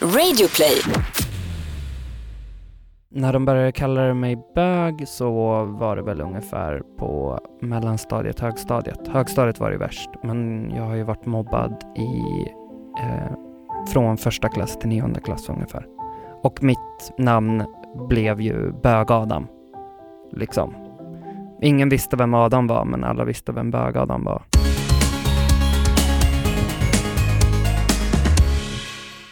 Radioplay. När de började kalla mig bög så var det väl ungefär på mellanstadiet, högstadiet. Högstadiet var det värst, men jag har ju varit mobbad i, eh, från första klass till nionde klass ungefär. Och mitt namn blev ju Bög-Adam, liksom. Ingen visste vem Adam var, men alla visste vem Bög-Adam var.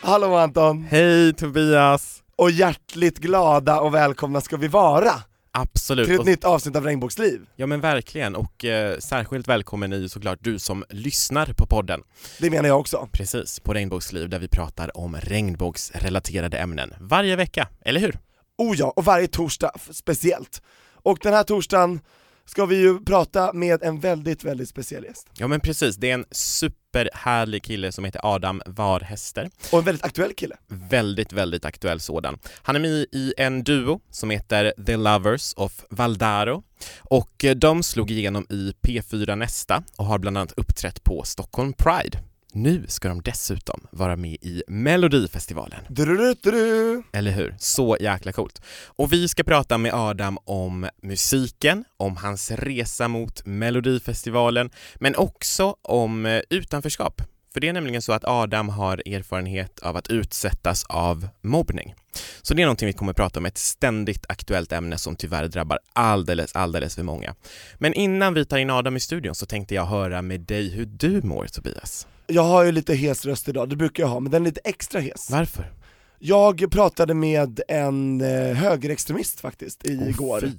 Hallå Anton! Hej Tobias! Och hjärtligt glada och välkomna ska vi vara Absolut! till ett Och- nytt avsnitt av Regnbågsliv. Ja men verkligen, och eh, särskilt välkommen är ju såklart du som lyssnar på podden. Det menar jag också. Precis, på Regnbågsliv där vi pratar om regnbågsrelaterade ämnen varje vecka, eller hur? Oh ja, och varje torsdag f- speciellt. Och den här torsdagen ska vi ju prata med en väldigt, väldigt speciell gäst. Ja men precis, det är en superhärlig kille som heter Adam Varhäster. Och en väldigt aktuell kille. Väldigt, väldigt aktuell sådan. Han är med i en duo som heter The Lovers of Valdaro och eh, de slog igenom i P4 Nästa och har bland annat uppträtt på Stockholm Pride. Nu ska de dessutom vara med i Melodifestivalen, Druruturu. eller hur? Så jäkla coolt. Och vi ska prata med Adam om musiken, om hans resa mot Melodifestivalen, men också om eh, utanförskap. För det är nämligen så att Adam har erfarenhet av att utsättas av mobbning. Så det är någonting vi kommer att prata om, ett ständigt aktuellt ämne som tyvärr drabbar alldeles, alldeles för många. Men innan vi tar in Adam i studion så tänkte jag höra med dig hur du mår Tobias. Jag har ju lite hes röst idag, det brukar jag ha, men den är lite extra hes. Varför? Jag pratade med en eh, högerextremist faktiskt Åh, igår. fy.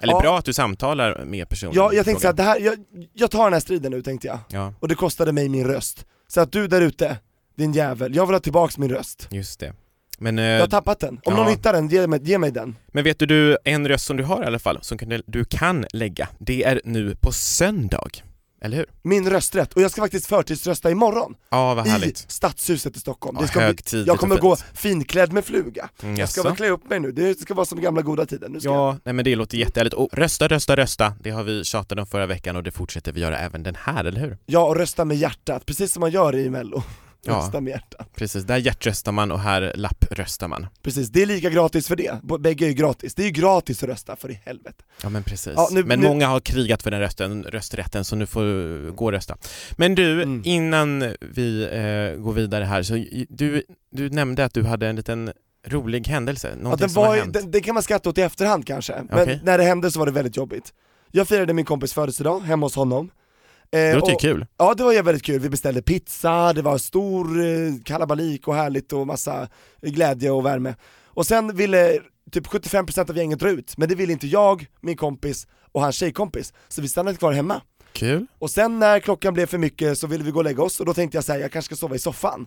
Eller Ja. bra att du samtalar med personen. Ja, i jag tänkte såhär, frågan. det här, jag, jag tar den här striden nu tänkte jag. Ja, Och det kostade mig min röst. Så att du där ute, din jävel, jag vill ha tillbaks min röst. just det. Men, Jag eh, har tappat den. Om ja. någon hittar den, ge mig, ge mig den. men vet du, du, en röst som du har i alla fall, som kan- du kan lägga, det är nu på söndag. Eller hur? Min rösträtt. Och jag ska faktiskt förtidsrösta imorgon. Ja, vad I härligt. Stadshuset i Stockholm. Ja, det ska bli, högtidligt jag kommer och gå fint. finklädd med fluga. Mm, Jag ska jaså? väl klä upp mig nu, det ska vara som gamla goda tiden. Nu ska jag. Ja, nej men det låter jättehärligt. Och rösta, rösta, rösta. Det har vi tjatat om förra veckan och det fortsätter vi göra även den här, eller hur? ja, och rösta med hjärtat, precis som man gör i mello. Ja. Rösta med hjärtat. Precis, där hjärtröstar man och här lappröstar man. Precis, det är lika gratis för det. B- Bägge är ju gratis. Det är ju gratis att rösta, för i helvete. Ja men precis. Ja, nu- men nu- många har krigat för den rösten, rösträtten så nu får du gå och rösta. Men du, Mm. innan vi eh, går vidare här så j- du, du nämnde att du hade en liten rolig händelse, någonting Ja, den som var, har ju- hänt. den, den kan man skratta åt i efterhand kanske, men Okej. när det hände så var det väldigt jobbigt. Jag firade min kompis födelsedag hemma hos honom. Eh, Det låter ju och- kul. Ja det var ju väldigt kul, vi beställde pizza, det var stor eh, kalabalik och härligt och massa eh, glädje och värme. Och sen ville typ 75% av gänget dra ut, men det ville inte jag, min kompis och hans tjejkompis, så vi stannade kvar hemma. Kul. Och sen när klockan blev för mycket så ville vi gå och lägga oss och då tänkte jag säga jag kanske ska sova i soffan.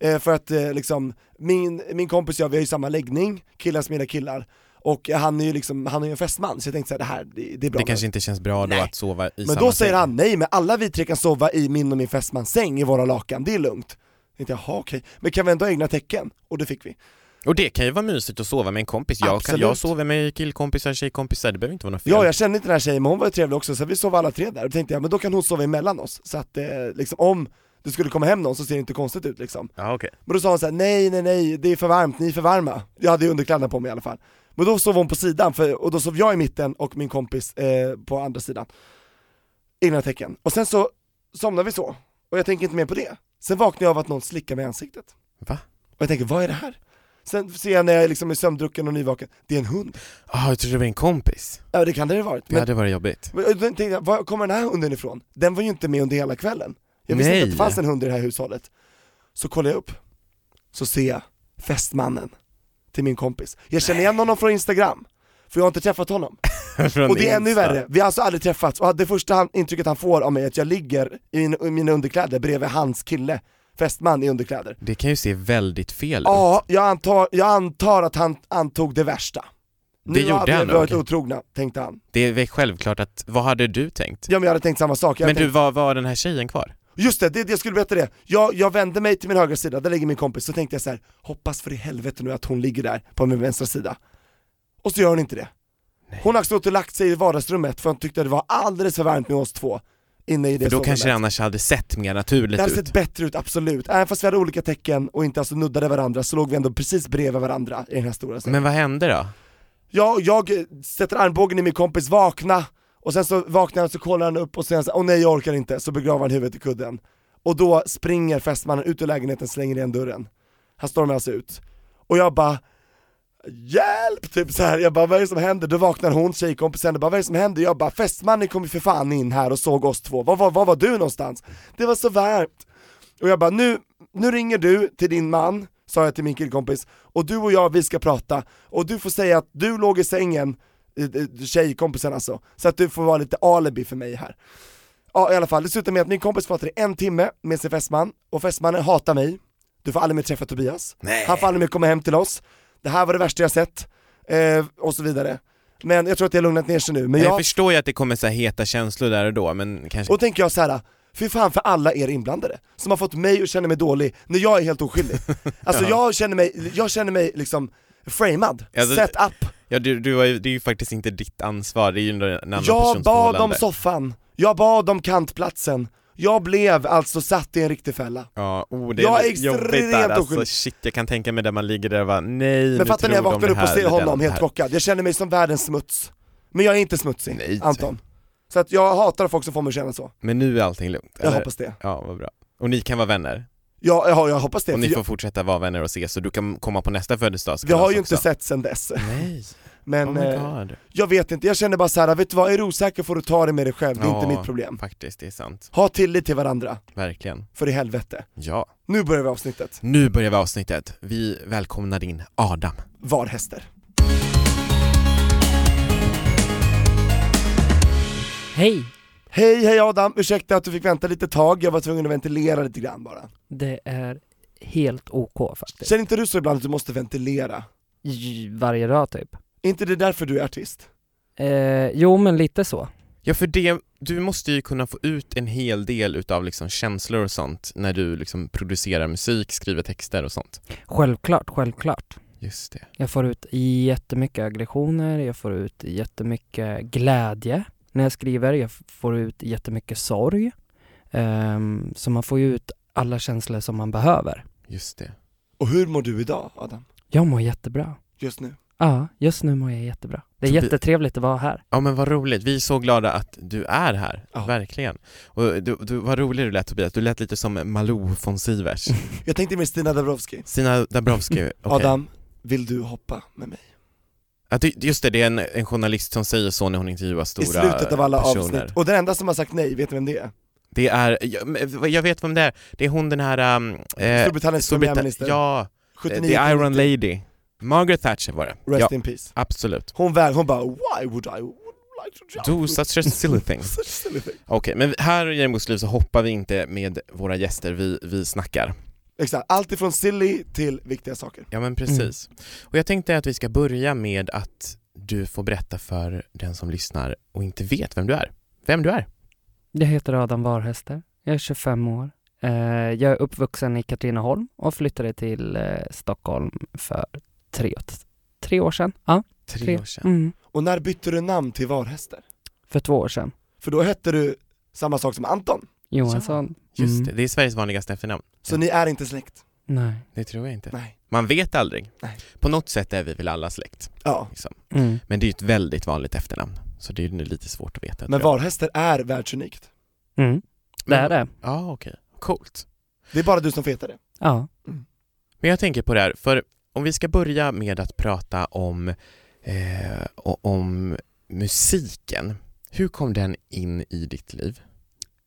Eh, för att eh, liksom, min, min kompis och jag vi har ju samma läggning, killar som gillar killar, och eh, han är ju liksom, han är ju en festman så jag tänkte så här, det här, det, det är bra. Det kanske inte känns bra då Nej. att sova i Men samma då säger säng. han nej, men alla vi tre kan sova i min och min fästmans säng i våra lakan, det är lugnt. Jag tänkte, jaha okej, men kan vi ändå ha egna tecken? Och det fick vi. Och det kan ju vara mysigt att sova med en kompis. Jag, kan, jag Absolut. sover med killkompisar, tjejkompisar, det behöver inte vara något fel. Ja, jag kände inte den här tjejen men hon var ju trevlig också, så vi sov alla tre där. Då tänkte jag, men då kan hon sova emellan oss, så att eh, liksom om det skulle komma hem någon så ser det inte konstigt ut liksom. ja Ah, okej. Men då sa hon så här: nej nej nej, det är för varmt, ni är för varma. Jag hade ju underkläderna på mig i alla fall. Men då sov hon på sidan, för, och då sov jag i mitten och min kompis eh, på andra sidan. Egna tecken. Och sen så somnade vi så, och jag tänker inte mer på det. Sen vaknade jag av att någon slickade mig i ansiktet. Va? Och jag tänker, vad är det här? Sen ser jag när jag liksom är sömndrucken och nyvaken, det är en hund. Ah, jag trodde det var en kompis. Ja det kan det ha varit. Det Men, hade varit jobbigt. men, och då tänkte jag, var kommer den här hunden ifrån? Den var ju inte med under hela kvällen. Jag visste inte att det Nej. fanns en hund i det här hushållet. Så kollar jag upp, så ser jag fästmannen till min kompis. Jag känner igen honom från Instagram, för jag har inte träffat honom. Från Och det är ännu Insta. värre, vi har alltså aldrig träffats, och det första han, intrycket han får av mig är att jag ligger i, min, i mina underkläder bredvid hans kille, fästman i underkläder. Det kan ju se väldigt fel ut. Ja, jag antar, jag antar att han antog det värsta. Det nu gjorde har vi han, varit okej. otrogna, tänkte han. Det är väl självklart att, vad hade du tänkt? Ja men jag hade tänkt samma sak, jag men hade du, var, var den här tjejen kvar? tänkt, just det, det, det, jag skulle berätta det. Jag, jag vände mig till min högra sida, där ligger min kompis, så tänkte jag så här: hoppas för i helvete nu att hon ligger där på min vänstra sida. Och så gör hon inte det. Hon har stått och lagt sig i vardagsrummet för hon tyckte att det var alldeles för varmt med oss två. inne i det alltså, För då sovrummet. kanske det annars hade sett mer Det naturligt hade ut. sett bättre ut, absolut. Även fast vi hade olika tecken och inte alltså nuddade varandra så låg vi ändå precis bredvid varandra i den här stora sängen. Men vad hände då? Jag, jag sätter armbågen i min kompis, vakna, och sen så vaknar han så kollar han upp och säger så här, åh nej jag orkar inte, så begraver han huvudet i kudden. Och då springer fästmannen ut ur lägenheten, slänger igen dörren. Han stormar alltså ut. Och jag bara, hjälp! Typ så här. jag bara vad är det som händer? Då vaknar hon, tjejkompisen, och bara vad är det som händer? Jag bara, fästmannen kom ju för fan in här och såg oss två, var, var, var var du någonstans? Det var så varmt. Och jag bara, nu, nu ringer du till din man, sa jag till min killkompis, och du och jag vi ska prata, och du får säga att du låg i sängen, eh, eh, tjejkompisen alltså, så att du får vara lite alibi för mig här. Ja i alla fall, det slutar med att min kompis pratar i en timme med sin fästman, och fästmannen hatar mig, du får aldrig mer träffa Tobias, Nej. han får aldrig mer komma hem till oss, det här var det värsta jag sett, eh, och så vidare. Men jag tror att jag har lugnat ner sig nu, men Jag jag, förstår ju att det kommer så här heta känslor där och då, men kanske... och då tänker jag så här. Fy fan för alla er inblandade, som har fått mig att känna mig dålig när jag är helt oskyldig. Alltså Ja. jag känner mig, jag känner mig liksom framad, Alltså, set up. Ja, du, du har ju, det är ju faktiskt inte ditt ansvar, det är ju en en annan Jag persons bad om förhållande. soffan, jag bad om kantplatsen, jag blev alltså satt i en riktig fälla. Ja, oh, det Jag är är lite jobbigt extremt där alltså, oskyldig. shit jag kan tänka mig där man ligger där och bara nej nu Men fatta när jag tror de vaknar det upp och här ser eller honom den helt här. chockad, jag känner mig som världens smuts. Men jag är inte smutsig, Nej. Anton. Så att jag hatar folk som får mig att känna så, Men nu är allting lugnt, jag hoppas det. Ja, vad bra. Och ni kan vara vänner, Ja, ja jag hoppas det, för och ni jag, får fortsätta vara vänner och ses så du kan komma på nästa födelsedag vi har ju inte sett sen dess. Nej, Men oh my eh, god. jag vet inte, jag känner bara så här, vet du vad, är du osäker får du ta det med dig själv, det är Ja. inte mitt problem. Faktiskt, det är sant. Ha tillit till varandra, Verkligen. för i helvete. Ja. Nu börjar vi avsnittet, Nu börjar vi avsnittet. Vi välkomnar in Adam. var häster. Hej! Hej, hej Adam, ursäkta att du fick vänta lite tag, jag var tvungen att ventilera lite grann bara. Det är helt OK faktiskt. Känner inte du så ibland att du måste ventilera? J- Varje dag typ. Är inte det därför du är artist? Eh, jo, men lite så. Ja, för det, du måste ju kunna få ut en hel del utav liksom känslor och sånt när du liksom producerar musik, skriver texter och sånt. Självklart, självklart. Just det. Jag får ut jättemycket aggressioner, jag får ut jättemycket glädje när jag skriver, jag f- får ut jättemycket sorg. Ehm, så man får ju ut alla känslor som man behöver. Just det. Och hur mår du idag Adam? Jag mår jättebra. Just nu? Ja, just nu mår jag jättebra. Det är Tobi- jättetrevligt att vara här. Ja men vad roligt, vi är så glada att du är här, Ja. verkligen. Och du, du, vad rolig du lät Tobias, du lät lite som Malou von Sivers. Jag tänkte mer Stina Dabrowski. Stina Dabrowski, okej. Adam, vill du hoppa med mig? Att det- Just det, det är en, en journalist som säger så när hon intervjuar stora I slutet av alla personer. avsnitt. Och den enda som har sagt nej, vet du vem det är? Det är, jag, men jag vet vem det är, det är hon den här... Um, eh, Storbritanniens Storbrit- premiärminister. Ja, eh, 79, The Iron Lady. Margaret Thatcher var det. Rest ja, in peace. absolut. Hon väl, hon bara why would I would like to jump? Do such a silly things. Such silly thing. Okej, men här i Regnbågsliv så hoppar vi inte med våra gäster, vi, vi snackar. Exakt, allt ifrån silly till viktiga saker. Ja men precis. Mm. Och jag tänkte att vi ska börja med att du får berätta för den som lyssnar och inte vet vem du är. Vem du är. Jag heter Adam Varhäster, jag är 25 år. Eh, jag är uppvuxen i Katrineholm och flyttade till eh, Stockholm för tre, tre år sedan. Ja, Tre år sedan. mm, Och när bytte du namn till Varhäster? för två år sedan. För då hette du samma sak som Anton, Johansson. Just Mm. det, det är Sveriges vanligaste efternamn. så Ja. ni är inte släkt. Nej. Det tror jag inte. Nej. Man vet aldrig. Nej. På något sätt är vi väl alla släkt. Ja, Liksom. Mm. Men det är ju ett väldigt vanligt efternamn. Så det är ju lite svårt att veta. tror men jag. Varhäster är världsunikt. Mm. Det Men- är det. Ja, okej. Coolt. Det är bara du som får heta det. Ja. Men jag tänker på det här, för om vi ska börja med att prata om, eh, o- om musiken. Hur kom den in i ditt liv?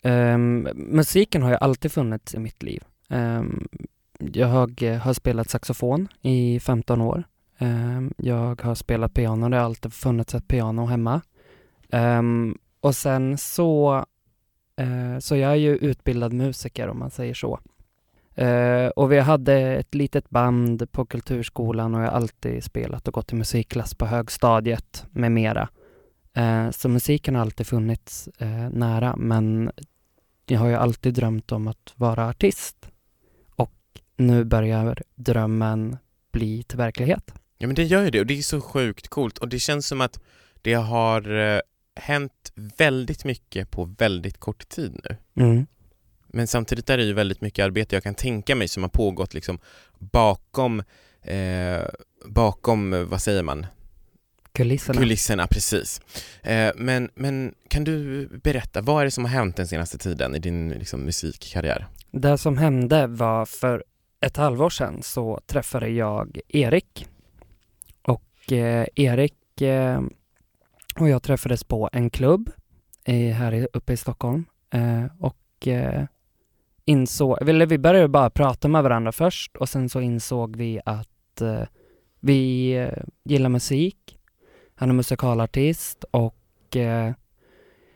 Ehm, musiken har ju alltid funnits i mitt liv. Ehm, jag eh, har spelat saxofon i 15 år. Ehm, jag har spelat piano, det har alltid funnits ett piano hemma. Ehm, och sen så, eh, så jag är ju utbildad musiker om man säger så. Eh, och vi hade ett litet band på kulturskolan och jag har alltid spelat och gått i musikklass på högstadiet med mera. Eh, så musiken har alltid funnits eh, nära men jag har ju alltid drömt om att vara artist och nu börjar drömmen bli till verklighet. Ja men det gör ju det och det är så sjukt coolt och det känns som att det har eh, hänt väldigt mycket på väldigt kort tid nu. Mm. Men samtidigt är det ju väldigt mycket arbete jag kan tänka mig som har pågått liksom bakom, eh, bakom, eh, vad säger man, Kulisserna. kulisserna, precis. Eh, men, men kan du berätta, vad är det som har hänt den senaste tiden i din liksom, musikkarriär? Det som hände var för ett halvår sedan så träffade jag Erik. Och eh, Erik eh, och jag träffades på en klubb i, här i- uppe i Stockholm. Eh, och eh, insåg, eller vi började bara prata med varandra först och sen så insåg vi att eh, vi eh, gillar musik. Han är musikalartist och eh,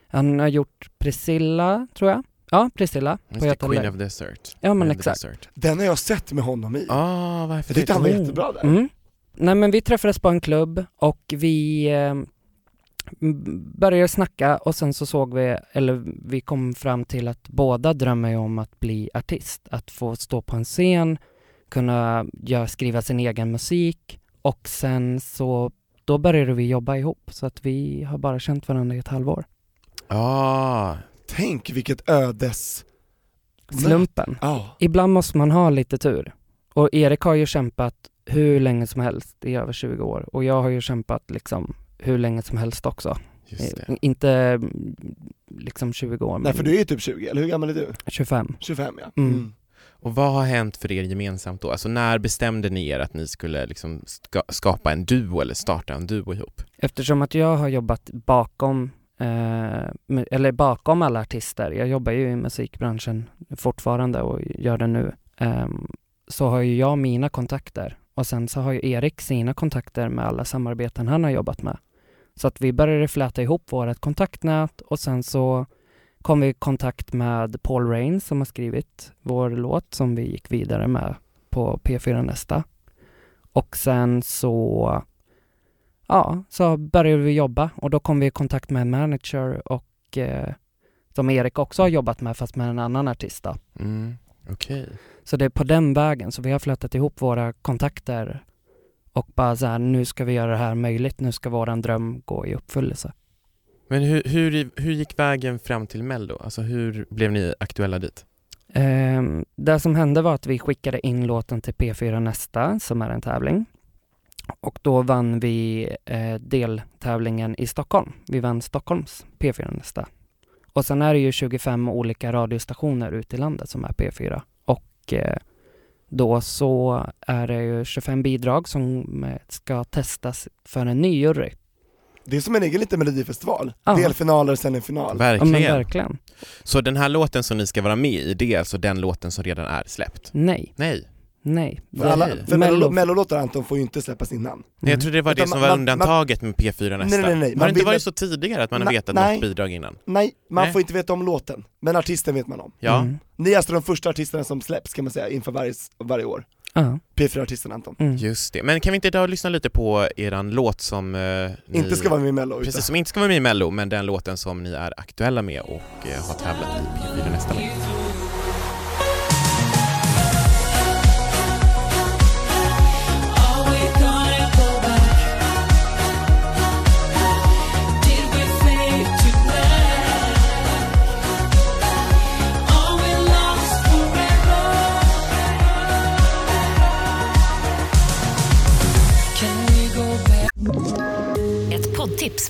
han har gjort Priscilla, tror jag. Ja, Priscilla. Just på det, Göta Le- Queen of Desert. Ja men Queen of the exakt. Desert. Den har jag sett med honom i. Ah, varför Jag tyckte han var Mm. jättebra där. Mm. Nej men vi träffades på en klubb och vi eh, m- började snacka och sen så såg vi, eller vi kom fram till att båda drömmer ju om att bli artist. Att få stå på en scen, kunna göra, skriva sin egen musik och sen så då började vi jobba ihop så att vi har bara känt varandra i ett halvår. Ah, Tänk vilket ödes... Slumpen. Ja. Ibland måste man ha lite tur. Och Erik har ju kämpat hur länge som helst i över 20 år och jag har ju kämpat liksom hur länge som helst också. just det. Eh, Inte mm, liksom 20 år, Nej men för du är ju typ 20, eller hur gammal är du? 25. 25 ja. Mm. Och vad har hänt för er gemensamt då? Alltså när bestämde ni er att ni skulle liksom ska skapa en duo eller starta en duo ihop? Eftersom att jag har jobbat bakom, eh, med- eller bakom alla artister, jag jobbar ju i musikbranschen fortfarande och gör det nu, ehm, så har ju jag mina kontakter och sen så har ju Erik sina kontakter med alla samarbeten han har jobbat med. Så att vi började fläta ihop vårt kontaktnät och sen så kom vi i kontakt med Paul Rain som har skrivit vår låt som vi gick vidare med på P4 Nästa. Och sen så ja, så började vi jobba och då kom vi i kontakt med en manager och eh, som Erik också har jobbat med fast med en annan artist då. Mm, Okej. Så det är på den vägen, så vi har flätat ihop våra kontakter och bara så här, nu ska vi göra det här möjligt, nu ska våran dröm gå i uppfyllelse. Men hur, hur, hur gick vägen fram till Mello? Alltså hur blev ni aktuella dit? Ehm, det som hände var att vi skickade in låten till P4 Nästa, som är en tävling. Och då vann vi eh, deltävlingen i Stockholm. Vi vann Stockholms P4 Nästa. Och sen är det ju 25 olika radiostationer ute i landet som är P4. Och eh, då så är det ju 25 bidrag som eh, ska testas för en ny jury. Det är som en egen liten melodifestival. Ja. Delfinaler, sen en final. Ja, men Verkligen. verkligen. Så den här låten som ni ska vara med i, det är alltså den låten som redan är släppt? Nej, Nej, nej. För, alla, Nej. för Mello- Mello- mellolåtar Anton får ju inte släppa sin namn. Nej, jag trodde det var Utan det som man- var man- undantaget med P4 Nästa. Nej, nej, nej. Har Man det inte vill- varit så tidigare att man har Nej, vetat nej. något bidrag innan? Nej, man Nej. får inte veta om låten, men artisten vet man om. Ja. Mm. Ni är alltså de första artisterna som släpps kan man säga inför varje, varje år. Ja. P4-artisten Anton. Mm. Just det, men kan vi inte idag lyssna lite på eran låt som eh, ni... Inte ska vara med i mello, utan Precis, som inte ska vara med i Mello, men den låten som ni är aktuella med och eh, har tävlat i P4 nästa med. Ett poddtips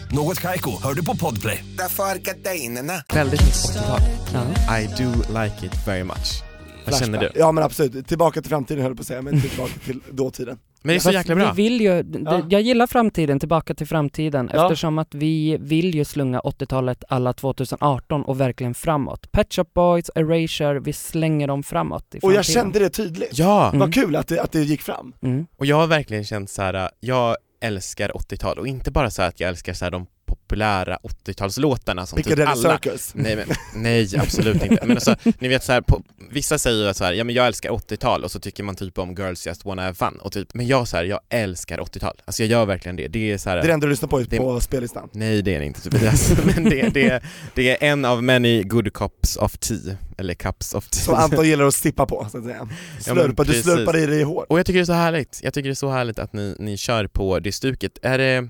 Något Kaiko, hör du på Podplay. Därför är gardinerna. Väldigt mycket 80-tal. Ja. I do like it very much. Vad känner du? Flashback. Ja men absolut, tillbaka till framtiden höll jag på att säga, men tillbaka till dåtiden. Men det är så Fast jäkla bra. Vi vill ju, d- Ja. Jag gillar framtiden, tillbaka till framtiden, Ja. eftersom att vi vill ju slunga 80-talet alla 2018 och verkligen framåt. Pet Shop Boys, Erasure, vi slänger dem framåt i Och framtiden. jag kände det tydligt. Ja! Mm. Vad kul att det, att det gick fram. Mm. Och jag har verkligen känt så här, jag älskar 80-tal och inte bara så här att jag älskar så här de pop- populära 80-talslåtarna som typ Piccadilly alla Circus. Nej, men, nej absolut inte. Men alltså, ni vet så här, på, vissa säger ju så här, ja men jag älskar 80-tal och så tycker man typ om Girls Just Wanna Have Fun och typ, men jag så här, jag älskar 80-tal. Alltså jag gör verkligen det. Det är så här, Det är det enda du lyssnar på Det- på spellistan. nej det är det inte Tobias, men det, det, det är en av many good cups of tea, eller cups of tea. Som Anton gillar att sippa på, så att säga. Ja, men Slurpa, du precis. slurpar i dig i hår. Och jag tycker det är så härligt, jag tycker det är så härligt att ni, ni kör på det stuket. Är det,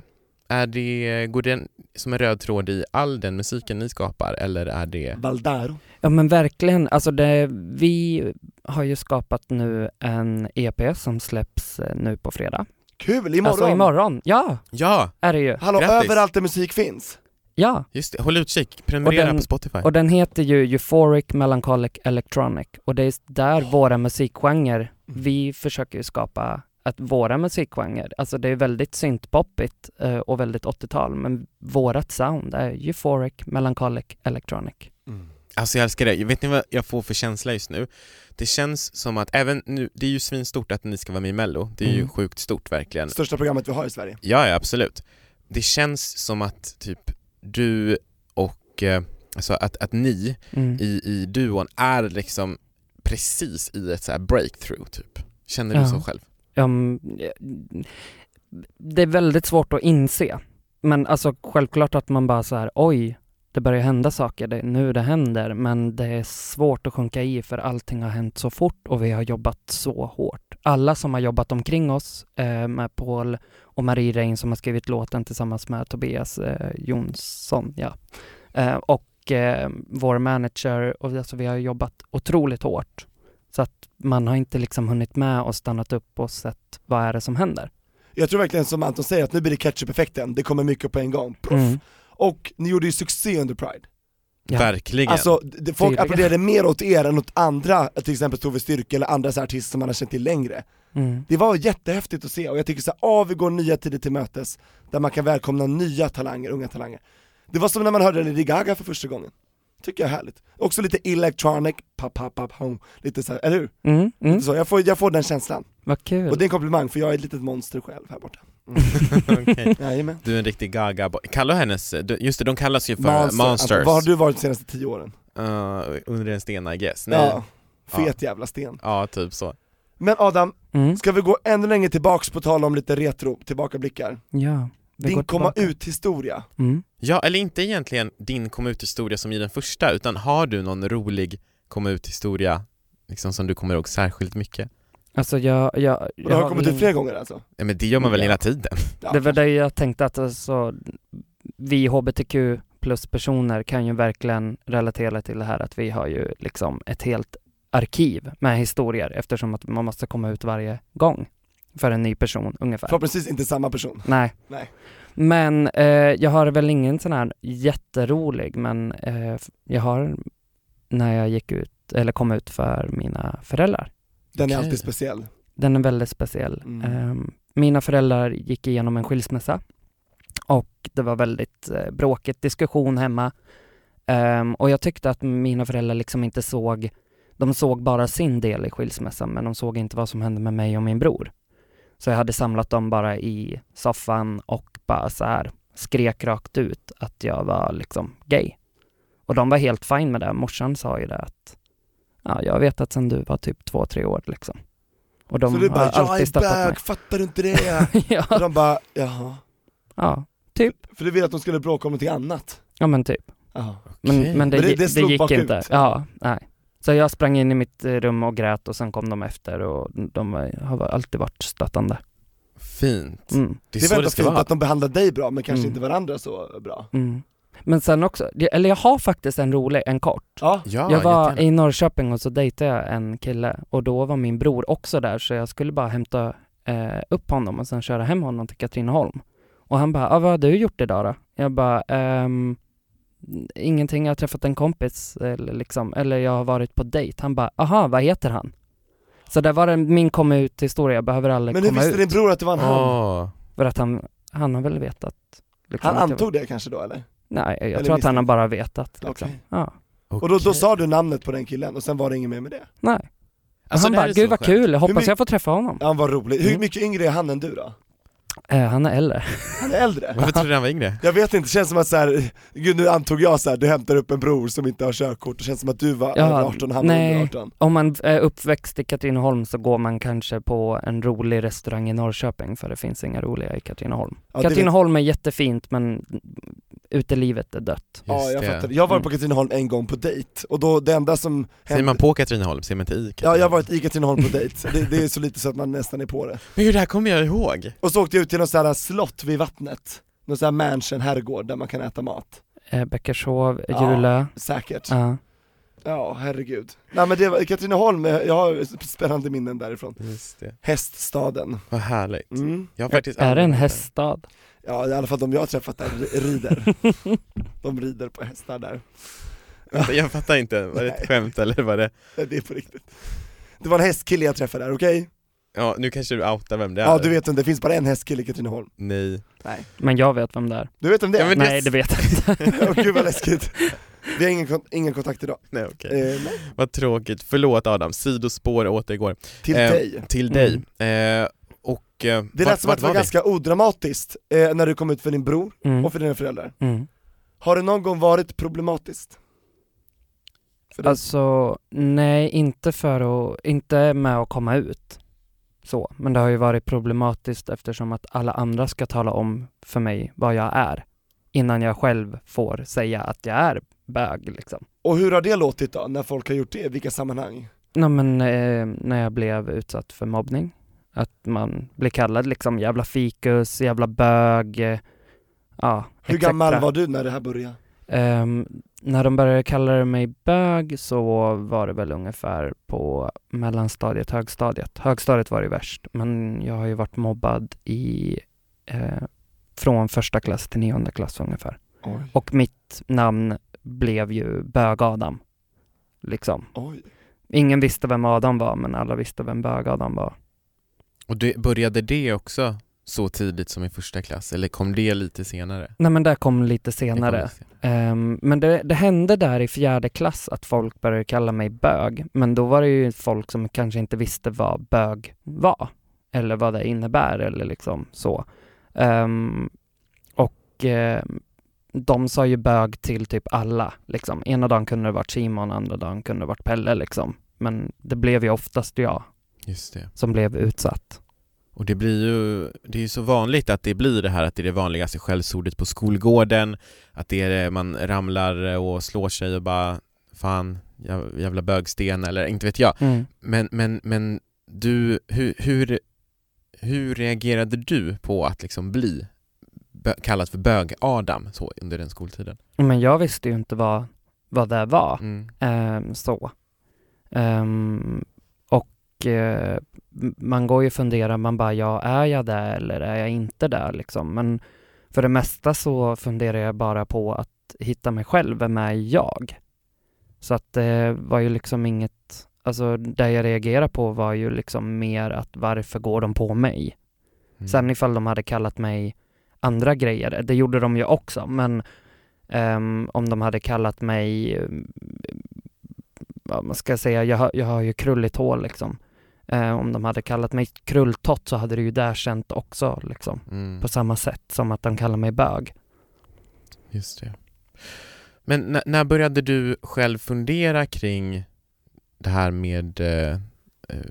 är det, går det som en röd tråd i all den musiken ni skapar eller är det Valdaro. Ja men verkligen, alltså det, vi har ju skapat nu en EP som släpps eh, nu på fredag. Kul, imorgon! Alltså imorgon, ja! Ja, Är det ju. Hallå, Grattis. Mm. överallt där musik finns. Ja, just det. Håll utkik, prenumerera Och den- på Spotify. och den heter ju Euphoric Melancholic Electronic och det är där våra musikgenrer, vi försöker ju skapa att våra musikgenrer, alltså det är väldigt syntpoppigt eh, och väldigt 80-tal, men vårat sound är Euphoric Melancholic Electronic. Alltså jag älskar det. Vet ni vad jag får för känsla just nu? Det känns som att även nu, det är ju svinstort att ni ska vara med i mello. Det är ju Mm. sjukt stort verkligen. Största programmet vi har i Sverige. Ja, ja absolut. Det känns som att typ du och, eh, alltså att, att ni Mm. i, i duon är liksom precis i ett så här breakthrough typ. Känner du Ja. så själv? Ja, mm, det är väldigt svårt att inse. Men alltså självklart att man bara så här, oj, det börjar hända saker, det är nu det händer, men det är svårt att sjunka i för allting har hänt så fort och vi har jobbat så hårt. Alla som har jobbat omkring oss eh, med Paul och Marie Rein som har skrivit låten tillsammans med Tobias eh, Jonsson, ja. Eh, och eh, vår manager, och alltså vi har jobbat otroligt hårt. Så att man har inte liksom hunnit med och stannat upp och sett vad är det som händer. Jag tror verkligen som Anton säger att nu blir det ketchup-effekten, det kommer mycket på en gång. Proff. Mm. Och ni gjorde ju succé under Pride. Ja. Verkligen. Alltså, det, folk Tydligen. applåderade mer åt er än åt andra, till exempel Tove Styrke eller andra så här artister som man har känt till längre. Mm. Det var jättehäftigt att se och jag tycker så här, ah, vi går nya tider till mötes, där man kan välkomna nya talanger, unga talanger. Det var som när man hörde Lady Gaga för första gången. Tycker jag är härligt. Också lite electronic, pop, pop, pop, home. lite så här, eller hur? Mm. Mm. Så jag, får, jag får den känslan. Vad kul. Och det är en komplimang för jag är ett litet monster själv här borta. Okej. Jajamän. Du är en riktig gaga boy. Kallar hennes, du- just det, de kallas ju för Monster, monsters. Anton. Vad har du varit de senaste tio åren? Eh, under en sten I guess. Nej. Ja, Ja. fet jävla sten. typ så. Men Adam, Mm. ska vi gå ännu längre tillbaks på tal om lite retro, tillbakablickar? Ja. vi går Din komma tillbaka. ut-historia. Mm. Ja, eller inte egentligen din kom ut-historia som i den första, utan har du någon rolig kom ut-historia liksom som du kommer ihåg särskilt mycket? Alltså jag... jag, Och jag det har har kommit väl ut flera gånger alltså? Ja, men det gör man väl Ja. hela tiden? Ja. Det var det jag tänkte att alltså, vi hbtq plus personer kan ju verkligen relatera till det här att vi har ju liksom ett helt arkiv med historier eftersom att man måste komma ut varje gång för en ny person ungefär. Förhoppningsvis inte samma person. Nej. Nej. Men eh, jag har väl ingen sån här jätterolig, men eh, f- jag har när jag gick ut, eller kom ut för mina föräldrar. Den är Okej. alltid speciell. Den är väldigt speciell. Mm. Ehm, mina föräldrar gick igenom en skilsmässa och det var väldigt eh, bråkigt, diskussion hemma. Ehm, och jag tyckte att mina föräldrar liksom inte såg, de såg bara sin del i skilsmässan men de såg inte vad som hände med mig och min bror. Så jag hade samlat dem bara i soffan och bara så här skrek rakt ut att jag var liksom gay. Och de var helt fine med det. Morsan sa ju det att ja, jag vet att sen du var typ två, tre år liksom. Och de så du har bara, jag alltid är stöttat bög, mig. fattar du inte det? och ja, de bara, jaha. ja, typ. För du ville att de skulle bråka om någonting annat? Ja men typ. Jaha. Men, Okej. men det, Men det- gi- det det, slog gick bakut. inte. Ja, nej. Så jag sprang in i mitt eh, rum och grät och sen kom de efter och de var- har alltid varit stöttande. Fint. Mm, Det Det är är så väl det ändå ska fint vara. att de behandlar dig bra men kanske Mm. inte varandra så bra. mm. Men sen också, eller jag har faktiskt en rolig, en kort. Ja, Ja, jag var jättegärna. i Norrköping och så dejtade jag en kille och då var min bror också där så jag skulle bara hämta eh, upp honom och sen köra hem honom till Katrineholm. Och han bara, ah, vad har du gjort idag då? Jag bara, ehm, ingenting, jag har träffat en kompis eller liksom, eller jag har varit på dejt. Han bara, aha, vad heter han? Så där var det min komma ut historia, jag behöver aldrig men hur komma visste ut. din bror att det var en han? Åh. För att han, han har väl vetat. liksom, Han att jag- antog det kanske då eller? Nej, jag tror att misstänkt. han har bara vetat. Liksom. Okej. Ja. Och då, då Okej. sa du namnet på den killen och sen var det inget mer med det? Nej. Alltså, han det här bara, är så gud vad skönt. kul, jag hoppas mycket- jag får träffa honom. Ja, Han var rolig. Hur Mm. mycket yngre är han än du då? Eh, han är äldre. Han är äldre. Varför trodde du han var yngre? Jag vet inte, det känns som att så här, gud nu antog jag så här, du hämtar upp en bror som inte har körkort, det känns som att du var Ja, över 18 och han var nej. under 18. Om man är uppväxt i Katrineholm så går man kanske på en rolig restaurang i Norrköping för det finns inga roliga i Katrineholm. Ja, det vet- Katrineholm är jättefint men utelivet är dött. Ja, jag det. fattar. Jag var på Katrineholm en gång på dejt, och då det enda som Säger hände man på Katrineholm, säger man inte i Ja, Katrineholm? jag har varit i Katrineholm på dejt, det, det är så lite så att man nästan är på det. Men hur det här kommer jag ihåg? Och så åkte jag ut till något så här slott vid vattnet, någon så här mansion, herrgård där man kan äta mat. Eh, Bäckershov, Ja. Julö. Säkert. Ja, Ja. herregud. Nej men det var, Katrineholm, eh, jag har spännande minnen därifrån. Just det. Häststaden. Vad härligt. Mm. Jag har faktiskt Är det aldrig en varit där. häststad? Ja i alla fall de jag har träffat där ri- rider. De rider på hästar där. Vänta, Jag fattar inte, var det ett Nej. skämt eller var det... Nej, Det är på riktigt. Det var en hästkille jag träffade där, okej? Ja, nu kanske du outar vem det är. Ja du vet vem det finns bara en hästkille i Katrineholm. Nej. Men jag vet vem det är. Du vet vem det Ja, är? men Nej, det vet jag inte. Åh, gud vad läskigt. Vi har ingen, kon- ingen kontakt idag. Nej okej. Eh, nej. Vad tråkigt. Förlåt Adam, sidospår återgår. Till Eh, dig. Till dig. Eh, och... eh, Mm. Det vart- lät som vart att det var vi? ganska odramatiskt eh, när du kom ut för din bror Mm. och för dina föräldrar. Mm. Har det någon gång varit problematiskt? För dig? Alltså, nej, inte för att, inte med att komma ut. Så, men det har ju varit problematiskt eftersom att alla andra ska tala om för mig vad jag är innan jag själv får säga att jag är bög liksom. och hur har det låtit då, när folk har gjort det? I vilka sammanhang? Nej men eh, när jag blev utsatt för mobbning, att man blir kallad liksom jävla fikus, jävla bög, eh, ja. Hur gammal var du när det här började? Ehm, när de började kalla mig bög så var det väl ungefär på mellanstadiet, högstadiet. Högstadiet var det värst, men jag har ju varit mobbad i, eh, från första klass till nionde klass ungefär. Oj. Och mitt namn blev ju Bög-Adam. Liksom. Oj. Ingen visste vem Adam var, men alla visste vem Bög-Adam var. Och det, började det också så tidigt som i första klass, eller kom det lite senare? Nej men det kom lite Det kom senare. lite senare. Ehm, men det, det hände där i fjärde klass att folk började kalla mig bög, men då var det ju folk som kanske inte visste vad bög var, eller vad det innebär eller liksom så. Ehm, och ehm, de sa ju bög till typ alla, liksom. Ena dagen kunde det varit Simon, andra dagen kunde det varit Pelle liksom. Men det blev ju oftast jag Just det. som blev utsatt. Och det blir ju, det är ju så vanligt att det blir det här att det är det vanligaste skällsordet på skolgården, att det är det, man ramlar och slår sig och bara fan, jä- jävla bögsten eller inte vet jag. Men, men, men du, hur, hur, hur reagerade du på att liksom bli bö, kallad för bög-Adam så under den skoltiden? Men jag visste ju inte vad, vad det var. Mm. Ehm, så. Ehm, och eh, m- man går ju och funderar, man bara, ja, är jag där eller är jag inte där liksom? Men för det mesta så funderar jag bara på att hitta mig själv, vem är jag? Så att det var ju liksom inget, alltså det jag reagerade på var ju liksom mer att varför går de på mig? Mm. Sen ifall de hade kallat mig andra grejer, det gjorde de ju också, men ehm, om de hade kallat mig, ehm, vad man ska säga, jag, har- jag har ju krulligt hår liksom. Eh, om de hade kallat mig krulltott så hade det ju där känt också liksom. Mm. På samma sätt som att de kallar mig bög. Just det. Men n- när började du själv fundera kring det här med eh, eh,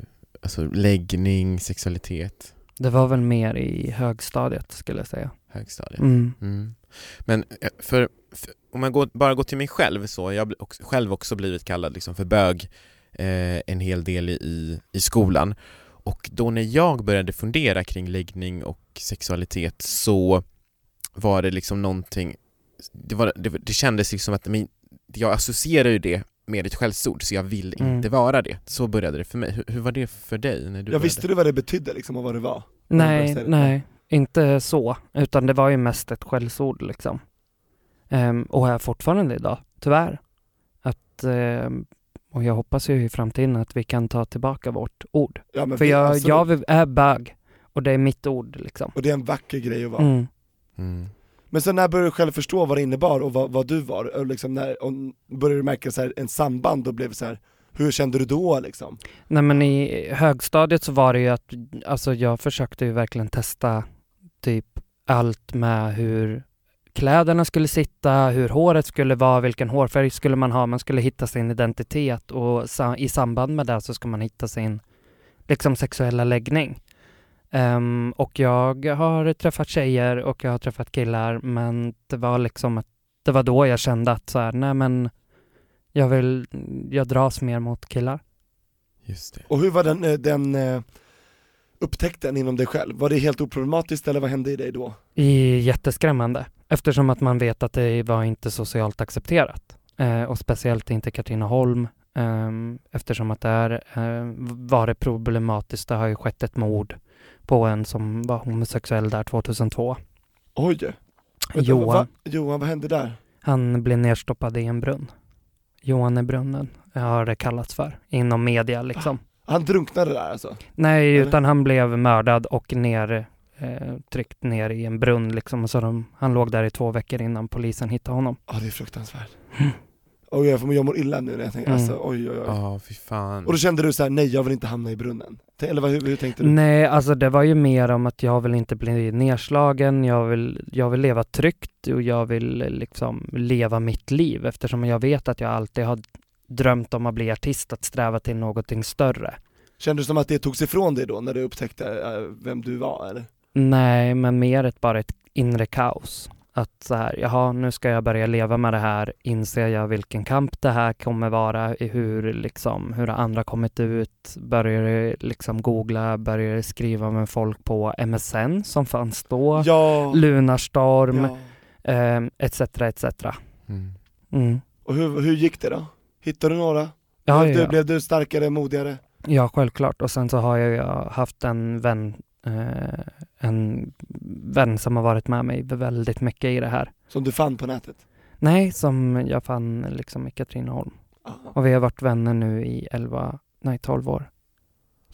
alltså läggning, sexualitet, Det var väl mer i högstadiet skulle jag säga. högstadiet? Mm. Mm. Men eh, för, för, om jag går, bara går till mig själv så, jag har bl- också, själv också blivit kallad liksom för bög eh, en hel del i- i, i skolan. Och då när jag började fundera kring läggning och sexualitet så var det liksom någonting, det, var, det, det kändes liksom att men, jag associerar ju det med ett skällsord så jag vill Mm. inte vara det. Så började det för mig. Hur, hur var det för dig? När du Jag började? visste du vad det betydde liksom och vad det var? Nej, Eller- nej, inte så, utan det var ju mest ett skällsord liksom. Ehm, och är fortfarande idag, tyvärr. Att, ehm, och jag hoppas ju i framtiden att vi kan ta tillbaka vårt ord. Ja, men För vi- jag, absolut. jag är bög och det är mitt ord liksom. Och det är en vacker grej att vara. Mm. Mm. Men sen när började du själv förstå vad det innebar och vad, vad du var? Och liksom när, om, började du märka så här, en samband och blev så här, hur kände du då liksom? Nej men i högstadiet så var det ju att, alltså jag försökte ju verkligen testa, typ allt med hur kläderna skulle sitta, hur håret skulle vara, vilken hårfärg skulle man ha. Man skulle hitta sin identitet och sa- i samband med det så ska man hitta sin liksom sexuella läggning. Ehm, och jag har träffat tjejer och jag har träffat killar men det var liksom att det var då jag kände att så här, nej men jag vill, jag dras mer mot killar. Just det. Och hur var den, eh, den eh, upptäckten inom dig själv? Var det helt oproblematiskt eller vad hände i dig då? I jätteskrämmande eftersom att man vet att det var inte socialt accepterat eh, och speciellt inte Katrineholm ehm, eftersom att där eh, var det problematiskt. Det har ju skett ett mord på en som var homosexuell där 2002. Oj! Vänta, Johan, Va, Johan, vad hände där? han blev nedstoppad i en brunn. Johanebrunnen har det kallats för inom media liksom. Han drunknade där alltså? Nej, Eller? utan han blev mördad och ner, eh, tryckt ner i en brunn liksom. Så de, han låg där i två veckor innan polisen hittade honom. Ja det är fruktansvärt. Oj, jag, får- jag mår illa nu när jag tänker, Mm. alltså oj oj oj. Ja, fy fan. Och då kände du så här: nej jag vill inte hamna i brunnen. T- Eller vad, hur, hur tänkte du? Nej, alltså det var ju mer om att jag vill inte bli nedslagen, jag vill, jag vill leva tryggt och jag vill eh, liksom leva mitt liv eftersom jag vet att jag alltid har drömt om att bli artist, att sträva till någonting större. Kände du som att det togs ifrån dig då när du upptäckte eh, vem du var eller? Nej, men mer ett, bara ett inre kaos. Att så här, jaha, nu ska jag börja leva med det här, inser jag vilken kamp det här kommer vara, i hur liksom, hur har andra kommit ut, börjar liksom googla, börjar skriva med folk på MSN som fanns då, Ja, Lunarstorm, ja. eh, etc, etc. Mm. Mm. Och hur, hur gick det då? Hittade du några? Ja, blev, ja, du, ja. blev du starkare, modigare? ja, självklart. Och sen så har jag ju haft en vän, eh, en vän som har varit med mig väldigt mycket i det här. Som du fann på nätet? Nej, som jag fann liksom i Katrineholm. Ja. Och vi har varit vänner nu i 11, nej 12 år.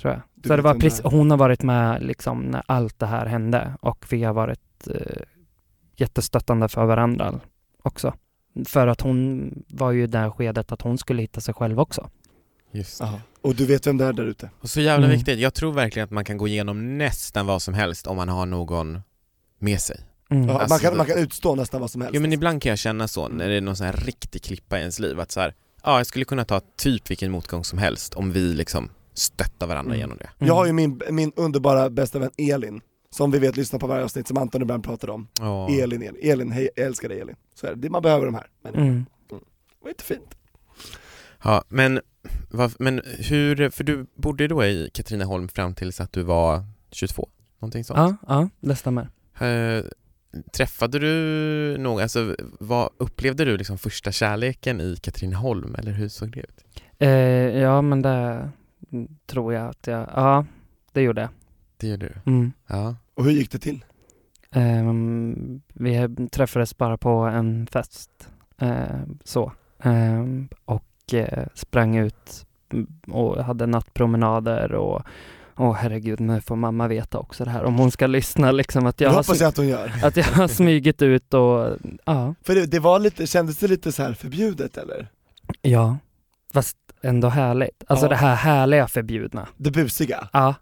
Tror jag. Du så det vet var vem det precis, är. hon har varit med liksom när allt det här hände och vi har varit eh, jättestöttande för varandra också. För att hon var ju i det här skedet att hon skulle hitta sig själv också. Just det. Ja. Och du vet vem det är där ute? Och så jävla Mm. viktigt. Jag tror verkligen att man kan gå igenom nästan vad som helst om man har någon med sig. Mm. Ja, Alltså, man, kan, det- man kan utstå nästan vad som helst. Jo men ibland kan jag känna så när det är någon sån här riktig klippa i ens liv att så här, ja jag skulle kunna ta typ vilken motgång som helst om vi liksom stöttar varandra Mm. genom det. Jag har ju min, min underbara bästa vän Elin, som vi vet lyssnar på varje avsnitt, som Anton ibland pratar om. Ja. Elin, Elin, Elin, hej, jag älskar dig Elin. Så är det, Det- man behöver de här. Men Mm. det var inte fint. Ja, men, vad- men hur, för du bodde ju då i Katrineholm fram tills att du var 22? Någonting sånt? Ja, ja, det stämmer. Eh, träffade du någon, alltså vad, upplevde du liksom första kärleken i Katrineholm eller hur såg det ut? Eh, ja, men det tror jag att jag, ja, det gjorde jag. Det gjorde du? Mm. Ja. Och hur gick det till? Ehm, vi träffades bara på en fest. ehm, så. Ehm, och eh, sprang ut och hade nattpromenader och Åh herregud, nu får mamma veta också det här om hon ska lyssna liksom att Det jag, har, hoppas sm- jag att hon gör. att jag har smugit ut och ja, För det, det var lite, kändes det lite så här förbjudet eller? ja, fast ändå härligt. Alltså Ja. det här härliga förbjudna. Det busiga. Ja,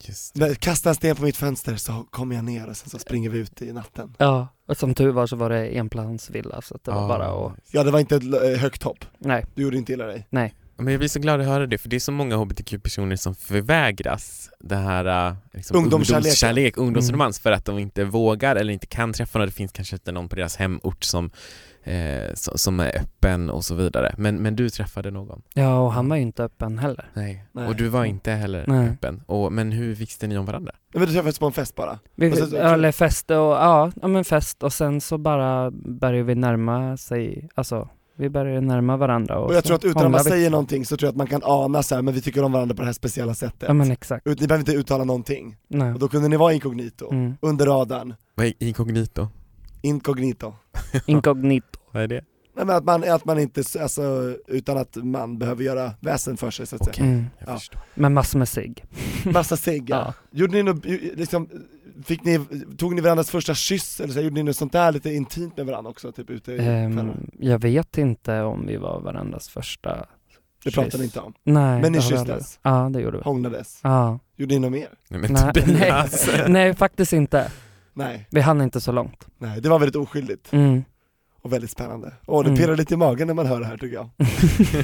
Just det. Men Kasta en sten på mitt fönster så kommer jag ner och sen så springer vi ut i natten. ja. Och som tur var så var det enplansvilla så att det Ah. var Ja. bara att, Ja det var inte ett l- eh, högt hopp, nej, du gjorde inte illa dig. Men jag blir så glad att höra det, för det är så många hbtq-personer som förvägras det här eh, liksom, Ungdomskärleken. ungdomskärlek, ungdomsromans för att de inte vågar eller inte kan träffa någon. Det finns kanske inte någon på deras hemort som, eh, som, som är öppen och så vidare. Men, men du träffade någon? ja och han var ju inte öppen heller. Nej. Nej. Och du var inte heller Nej. öppen. Och, men hur visste ni om varandra? Men du träffades på en fest bara. Vi, Och sen så- eller fest och, ja, ja men fest och sen så bara börjar vi närma sig, alltså vi börjar närma varandra och, Och jag så tror att utan att hånglar man vi. säger någonting så tror jag att man kan ana så här, men vi tycker om varandra på det här speciella sättet. Ja men exakt, Ut- Ni behöver inte uttala någonting. nej. Och då kunde ni vara inkognito, Mm. under radarn, Vad är inkognito? inkognito. Inkognito. Vad är det? Nej men att man, att man inte, s- alltså, utan att man behöver göra väsen för sig så att Okej. Mm. Jag Ja. förstår. Med massor med cigg. säga. Massa cigg ja. Ja. Gjorde ni något, ju- liksom, fick ni, tog ni varandras första kyss eller så, här, gjorde ni något sånt där lite intimt med varandra också, typ ute i um, Ehm, jag vet inte om vi var varandras första Det pratade ni inte om. Nej, Men ni det har vi kysstes? aldrig- Ja det gjorde vi. Hånglades. Ja. Gjorde ni något mer? Nej men typ. Alltså, Nej, Tobias. nej, nej faktiskt inte. Nej, Vi hann inte så långt. nej, det var väldigt oskyldigt Mm. och väldigt spännande. Åh, det Mm. pirrar lite i magen när man hör det här tycker jag.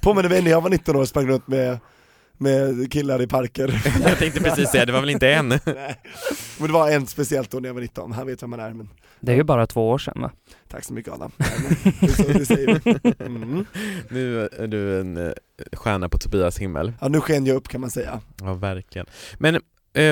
Påminner mig när jag var 19 år och sprang runt med, med killar i parker. Jag tänkte precis säga, det var väl inte än? nej. Men det var en speciellt då när jag var 19, han vet vem man är men Det är ju bara två år sedan va? tack så mycket Adam. Nej, men Det, är så, det säger vi. Mm. Nu är du en eh, stjärna på Tobias himmel. Ja, nu sken jag upp kan man säga. Ja, verkligen. Men, eh,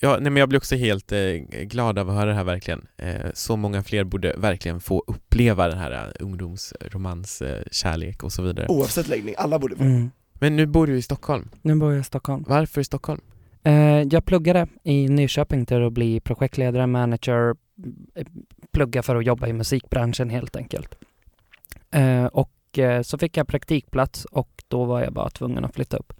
ja, nej, men jag blir också helt eh, glad av att höra det här verkligen. Eh, så många fler borde verkligen få uppleva den här eh, ungdomsromans, eh, kärlek och så vidare. Oavsett läggning, alla borde få. Mm. Men nu bor du i Stockholm. Nu bor jag i Stockholm. Varför i Stockholm? Eh, jag pluggade i Nyköping till att bli projektledare, manager, eh, plugga för att jobba i musikbranschen helt enkelt. Eh, och eh, så fick jag praktikplats och då var jag bara tvungen att flytta upp.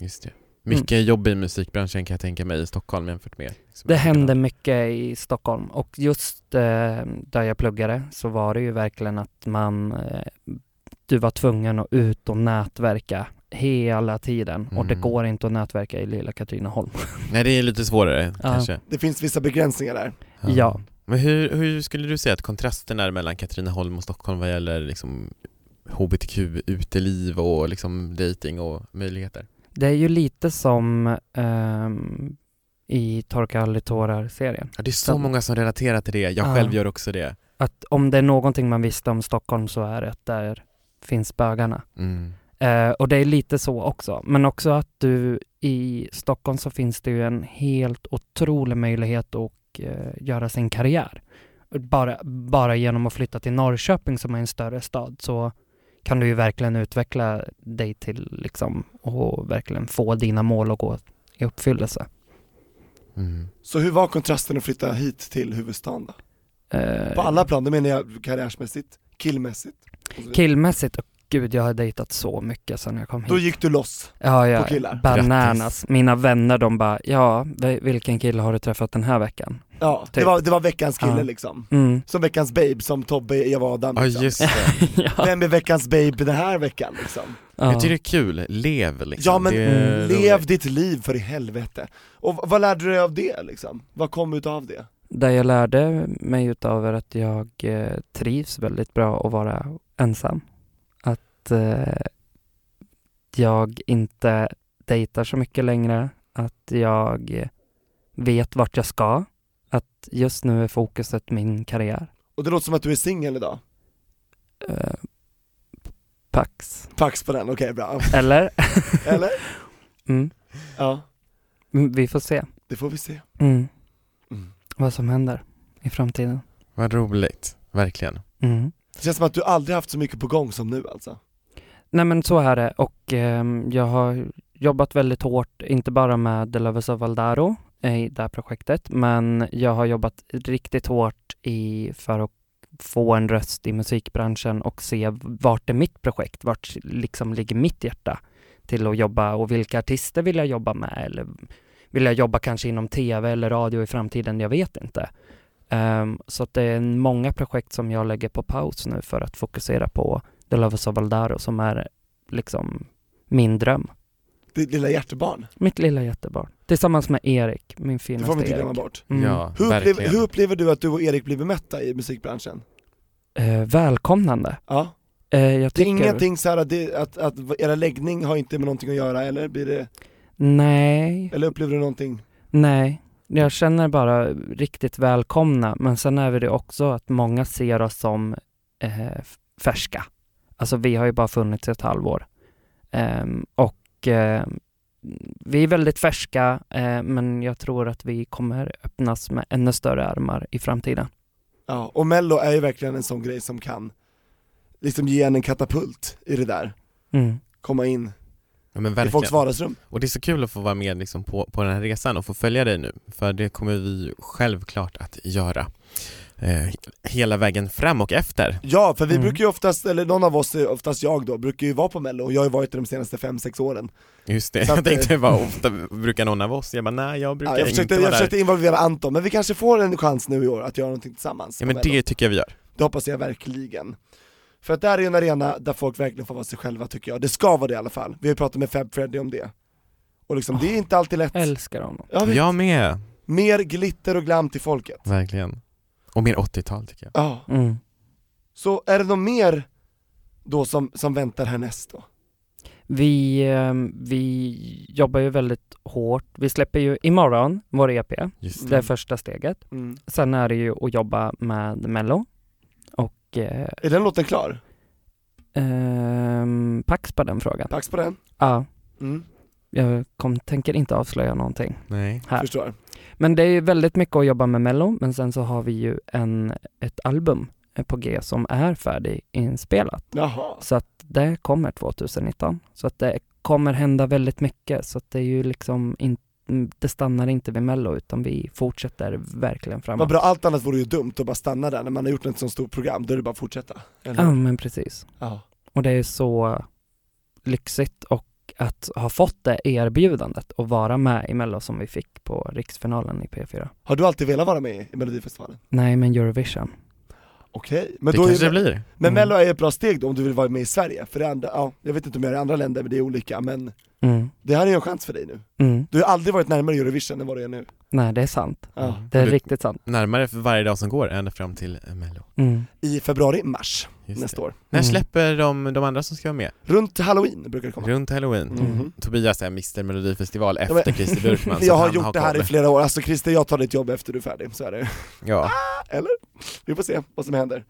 Just det. Mycket jobb i musikbranschen kan jag tänka mig i Stockholm jämfört med. liksom, Det andra hände land. mycket i Stockholm och just eh, där jag pluggade så var det ju verkligen att man, eh, du var tvungen att ut och nätverka hela tiden och det Mm. går inte att nätverka i lilla Katrineholm. Nej, det är lite svårare Ja. kanske. Det finns vissa begränsningar där. Ja. Men hur, hur skulle du säga att kontrasten är mellan Katrineholm och Stockholm vad gäller liksom hbtq-uteliv och liksom dating och möjligheter? Det är ju lite som ehm, i Torka aldrig tårar-serien. Ja, det är så många som relaterar till det, jag Ja. själv gör också det. Att om det är någonting man visste om Stockholm så är det att där finns bögarna. Mm. Eh, och det är lite så också. Men också att du i Stockholm så finns det ju en helt otrolig möjlighet att eh, göra sin karriär. Bara, bara genom att flytta till Norrköping som är en större stad så kan du ju verkligen utveckla dig till liksom och verkligen få dina mål att gå i uppfyllelse. Mm. Så hur var kontrasten att flytta hit till huvudstaden då? Eh, På alla plan, då menar jag karriärsmässigt, killmässigt. och så vidare. Killmässigt, och gud jag har dejtat så mycket sedan jag kom hit. Då gick du loss. Ja, ja. på killar. Bananas. Grattis. Mina vänner de bara, ja, vi- vilken kille har du träffat den här veckan? Ja, det Typ. var, det var veckans kille Ja. liksom. Mm. Som veckans babe, som Tobbe, Eva och Adam Ja, liksom. just det. ja. Vem är veckans babe den här veckan liksom? ja. Jag tycker det är kul, lev liksom. Ja men det är mm, lev roligt. ditt liv för i helvete. Och v- vad lärde du dig av det liksom? Vad kom utav det? Det jag lärde mig utav är att jag eh, trivs väldigt bra att vara ensam. Att eh, jag inte dejtar så mycket längre. Att jag vet vart jag ska. Att just nu är fokuset min karriär. Och det låter som att du är singel idag. Eh, pax. Pax på den, okej bra. Eller? Eller? Mm. Ja, Mm, Vi får se. det får vi se. Mm. Mm. Vad som händer i framtiden. Vad roligt, verkligen. Mm. Det känns som att du aldrig haft så mycket på gång som nu alltså. Nej men så är det och ehm, jag har jobbat väldigt hårt, inte bara med De Lovers of Valdaro eh, i det här projektet, men jag har jobbat riktigt hårt i, för att få en röst i musikbranschen och se vart är mitt projekt, vart liksom ligger mitt hjärta till att jobba och vilka artister vill jag jobba med eller vill jag jobba kanske inom tv eller radio i framtiden, jag vet inte. Ehm, så att det är många projekt som jag lägger på paus nu för att fokusera på The Lovers of Valdaro som är liksom min dröm. Ditt lilla hjärtebarn, Mitt lilla jättebarn. Tillsammans med Erik, min det får man finaste inte glömma Erik. bort. Mm. Ja, Hur, upplev, verkligen. hur upplever du att du och Erik blir bemötta i musikbranschen? Eh, välkomnande. Ja, Eh, jag det är tycker... ingenting så här att, det, att, att era läggning har inte med någonting att göra eller? Blir det, Nej, eller upplever du någonting? nej. Jag känner bara riktigt välkomna, men sen är det också att många ser oss som eh, f- färska. Alltså vi har ju bara funnits ett halvår. Ehm, och eh, vi är väldigt färska, eh, men jag tror att vi kommer öppnas med ännu större armar i framtiden. Ja, och mello är ju verkligen en sån grej som kan liksom ge en en katapult i det där, Mm. komma in Ja, men i folks verkligen. vardagsrum. Och det är så kul att få vara med liksom på, på den här resan och få följa dig nu, för det kommer vi ju självklart att göra eh, hela vägen fram och efter. Ja, för vi Mm. brukar ju oftast, eller någon av oss, oftast jag då, brukar ju vara på mello och jag har ju varit det de senaste 5-6 åren. Just det, Så att, eh, jag tänkte bara, ofta brukar någon av oss, jag bara nej jag brukar Ja, jag inte försökte, vara jag där. försökte involvera Anton, men vi kanske får en chans nu i år att göra någonting tillsammans. Ja på men Mello. det tycker jag vi gör. Det hoppas jag verkligen. För att det här är en arena där folk verkligen får vara sig själva tycker jag. Det ska vara det i alla fall. Vi har ju pratat med Fab Freddy om det. Och liksom, det är inte alltid lätt. Älskar honom. Ja, vi, Jag med. Mer glitter och glam till folket. Verkligen. Och mer 80-tal tycker jag. Ja. Mm. Så är det något mer då som, som väntar härnäst då? Vi, eh, vi jobbar ju väldigt hårt. Vi släpper ju imorgon vår EP, Just det är det. första steget. Mm. Sen är det ju att jobba med Mello och eh, Är den låten klar? ehm, pax på den frågan. Pax på den? Ja, Mm. jag kom, tänker inte avslöja någonting. Nej. Ja. Förstår. Men det är ju väldigt mycket att jobba med Mello, men sen så har vi ju en, ett album eh, på G som är färdiginspelat. Jaha. Så att det kommer 2019. Så att det kommer hända väldigt mycket. Så att det är ju liksom in, mm, det stannar inte vid Mello utan vi fortsätter verkligen Vad framåt. bra, allt annat vore ju dumt att bara stanna där när man har gjort ett sånt stort program, då är det bara att fortsätta. Eller? Ja men precis. Ja. Och det är så lyxigt och att ha fått det erbjudandet och vara med i Mello som vi fick på riksfinalen i P4. Har du alltid velat vara med i Melodifestivalen? Nej men Eurovision. Okej, men det då är kanske det det... blir. Men Mm. Mello är ett bra steg då om du vill vara med i Sverige, för det andra, ja, jag vet inte om jag är i andra länder men det är olika, men Mm. det här är ju en chans för dig nu. Mm. Du har aldrig varit närmare Eurovision än vad du är nu. Nej det är sant. Ja. Mm. Det är Du- riktigt sant. Närmare för varje dag som går, ända fram till eh, Mello. Mm. I februari, mars Just nästa det. år. När Mm. släpper de, de andra som ska vara med? Runt halloween brukar det komma. Runt halloween? Mhm. Tobias är Mr Melodifestival men- efter Christer Björkman så Jag har han gjort det här i koll. flera år, alltså Christer jag tar ditt jobb efter du är färdig, så är det ju. Ja, Vi får se vad som händer.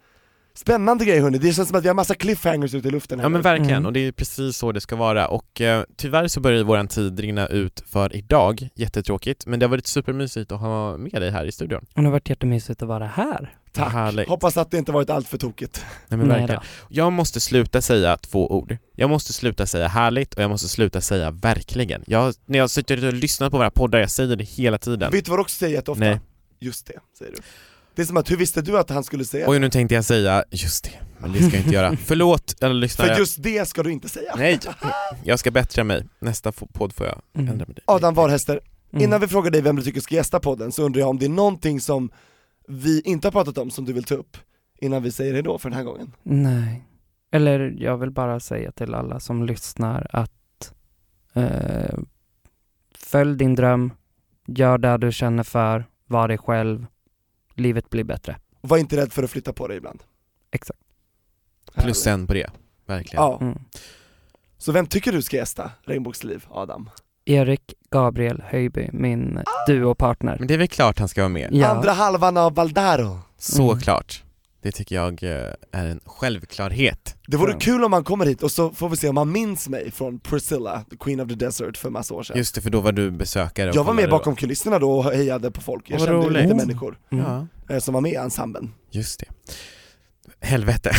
Spännande grej hörni, det känns som att vi har massa cliffhangers ute i luften här ja men nu. verkligen, Mm. och det är precis så det ska vara och eh, tyvärr så börjar ju våran tid rinna ut för idag, jättetråkigt, men det har varit supermysigt att ha med dig här i studion. Och det har varit jättemysigt att vara här. Tack. Härligt. Hoppas att det inte varit allt för tokigt. Nej, men Nej verkligen. Jag måste sluta säga två ord. Jag måste sluta säga härligt och jag måste sluta säga verkligen. Jag, när jag sitter och lyssnar på våra poddar, jag säger det hela tiden. Vet du vad du också säger jätteofta? Nej. Just det, säger du. Det är som att, hur visste du att han skulle säga det? Oj, nu tänkte jag säga just det, men det ska jag inte göra. Förlåt alla lyssnare. För just det ska du inte säga. Nej, jag ska bättra mig. Nästa fo- podd får jag Mm. ändra mig. Adam Warhäster, Mm. innan vi frågar dig vem du tycker ska gästa podden så undrar jag om det är någonting som vi inte har pratat om som du vill ta upp innan vi säger hejdå för den här gången. Nej. Eller jag vill bara säga till alla som lyssnar att eh, följ din dröm, gör det du känner för, var dig själv, livet blir bättre. Var inte rädd för att flytta på dig ibland. Exakt. Plus en på det, verkligen. Ja, Mm. så vem tycker du ska gästa Regnbågsliv, Adam? Erik Gabriel Höjby, min duopartner. Men det är väl klart han ska vara med. Ja, Andra halvan av Valdaro. Såklart. Det tycker jag eh, är en självklarhet. Det vore Ja. kul om han kommer hit och så får vi se om han minns mig från Priscilla, the Queen of the Desert för massa år sedan. Just det, för då var du besökare och jag var med kollade då. bakom kulisserna då och hejade på folk, jag Vad kände ju lite roligt. människor mm. Ja, eh, som var med i ensemblen. just det. Helvete.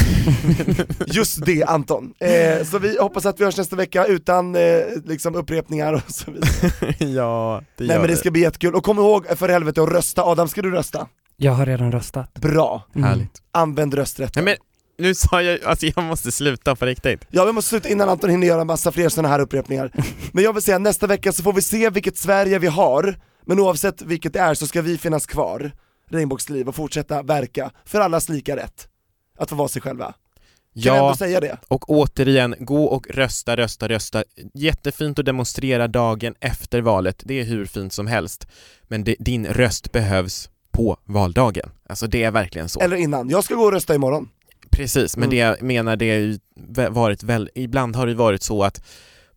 Just det Anton! Eh, så vi hoppas att vi hörs nästa vecka utan eh, liksom upprepningar och så vidare. ja, det Nej men det ska bli jättekul, och kom ihåg för helvete att rösta, Adam ska du rösta? jag har redan röstat. Bra! Mm. Härligt. Använd rösträtten. Nej men, nu sa jag alltså jag måste sluta på riktigt. Ja vi måste sluta innan Anton hinner göra massa fler sådana här upprepningar. Men jag vill säga nästa vecka så får vi se vilket Sverige vi har, men oavsett vilket det är så ska vi finnas kvar, Regnbågsliv, och fortsätta verka för allas lika rätt. Att få vara sig själva. Kan jag ändå Ja, säga det? och återigen, gå och rösta, rösta, rösta. Jättefint att demonstrera dagen efter valet, det är hur fint som helst. Men det, din röst behövs på valdagen. Alltså det är verkligen så. Eller innan, jag ska gå och rösta imorgon. Precis, men Mm. det jag menar det har ju vä- varit väl, ibland har det varit så att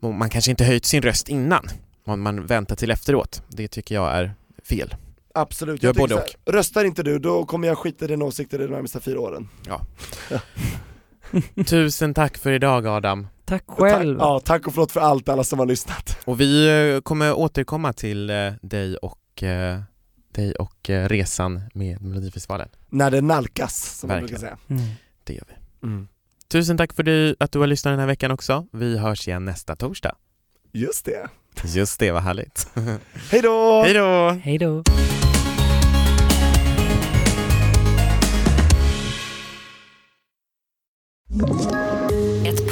man man kanske inte höjt sin röst innan, man, man väntar till efteråt. Det tycker jag är fel. Absolut, Gör tycker både så här, Röstar inte du, då kommer jag skita i dina åsikter de närmaste fyra åren. Tusen tack för idag Adam. Tack själv. Tack, ja, tack och förlåt för allt alla som har lyssnat. Och vi eh, kommer återkomma till eh, dig och, eh, dig och eh, resan med Melodifestivalen. När det nalkas, som man brukar Verkligen. säga. Mm. Det gör vi. Mm. Tusen tack för dig- att du har lyssnat den här veckan också. Vi hörs igen nästa torsdag. Just det. Just det, vad härligt. Hej då! Hej då! Hej då. Ett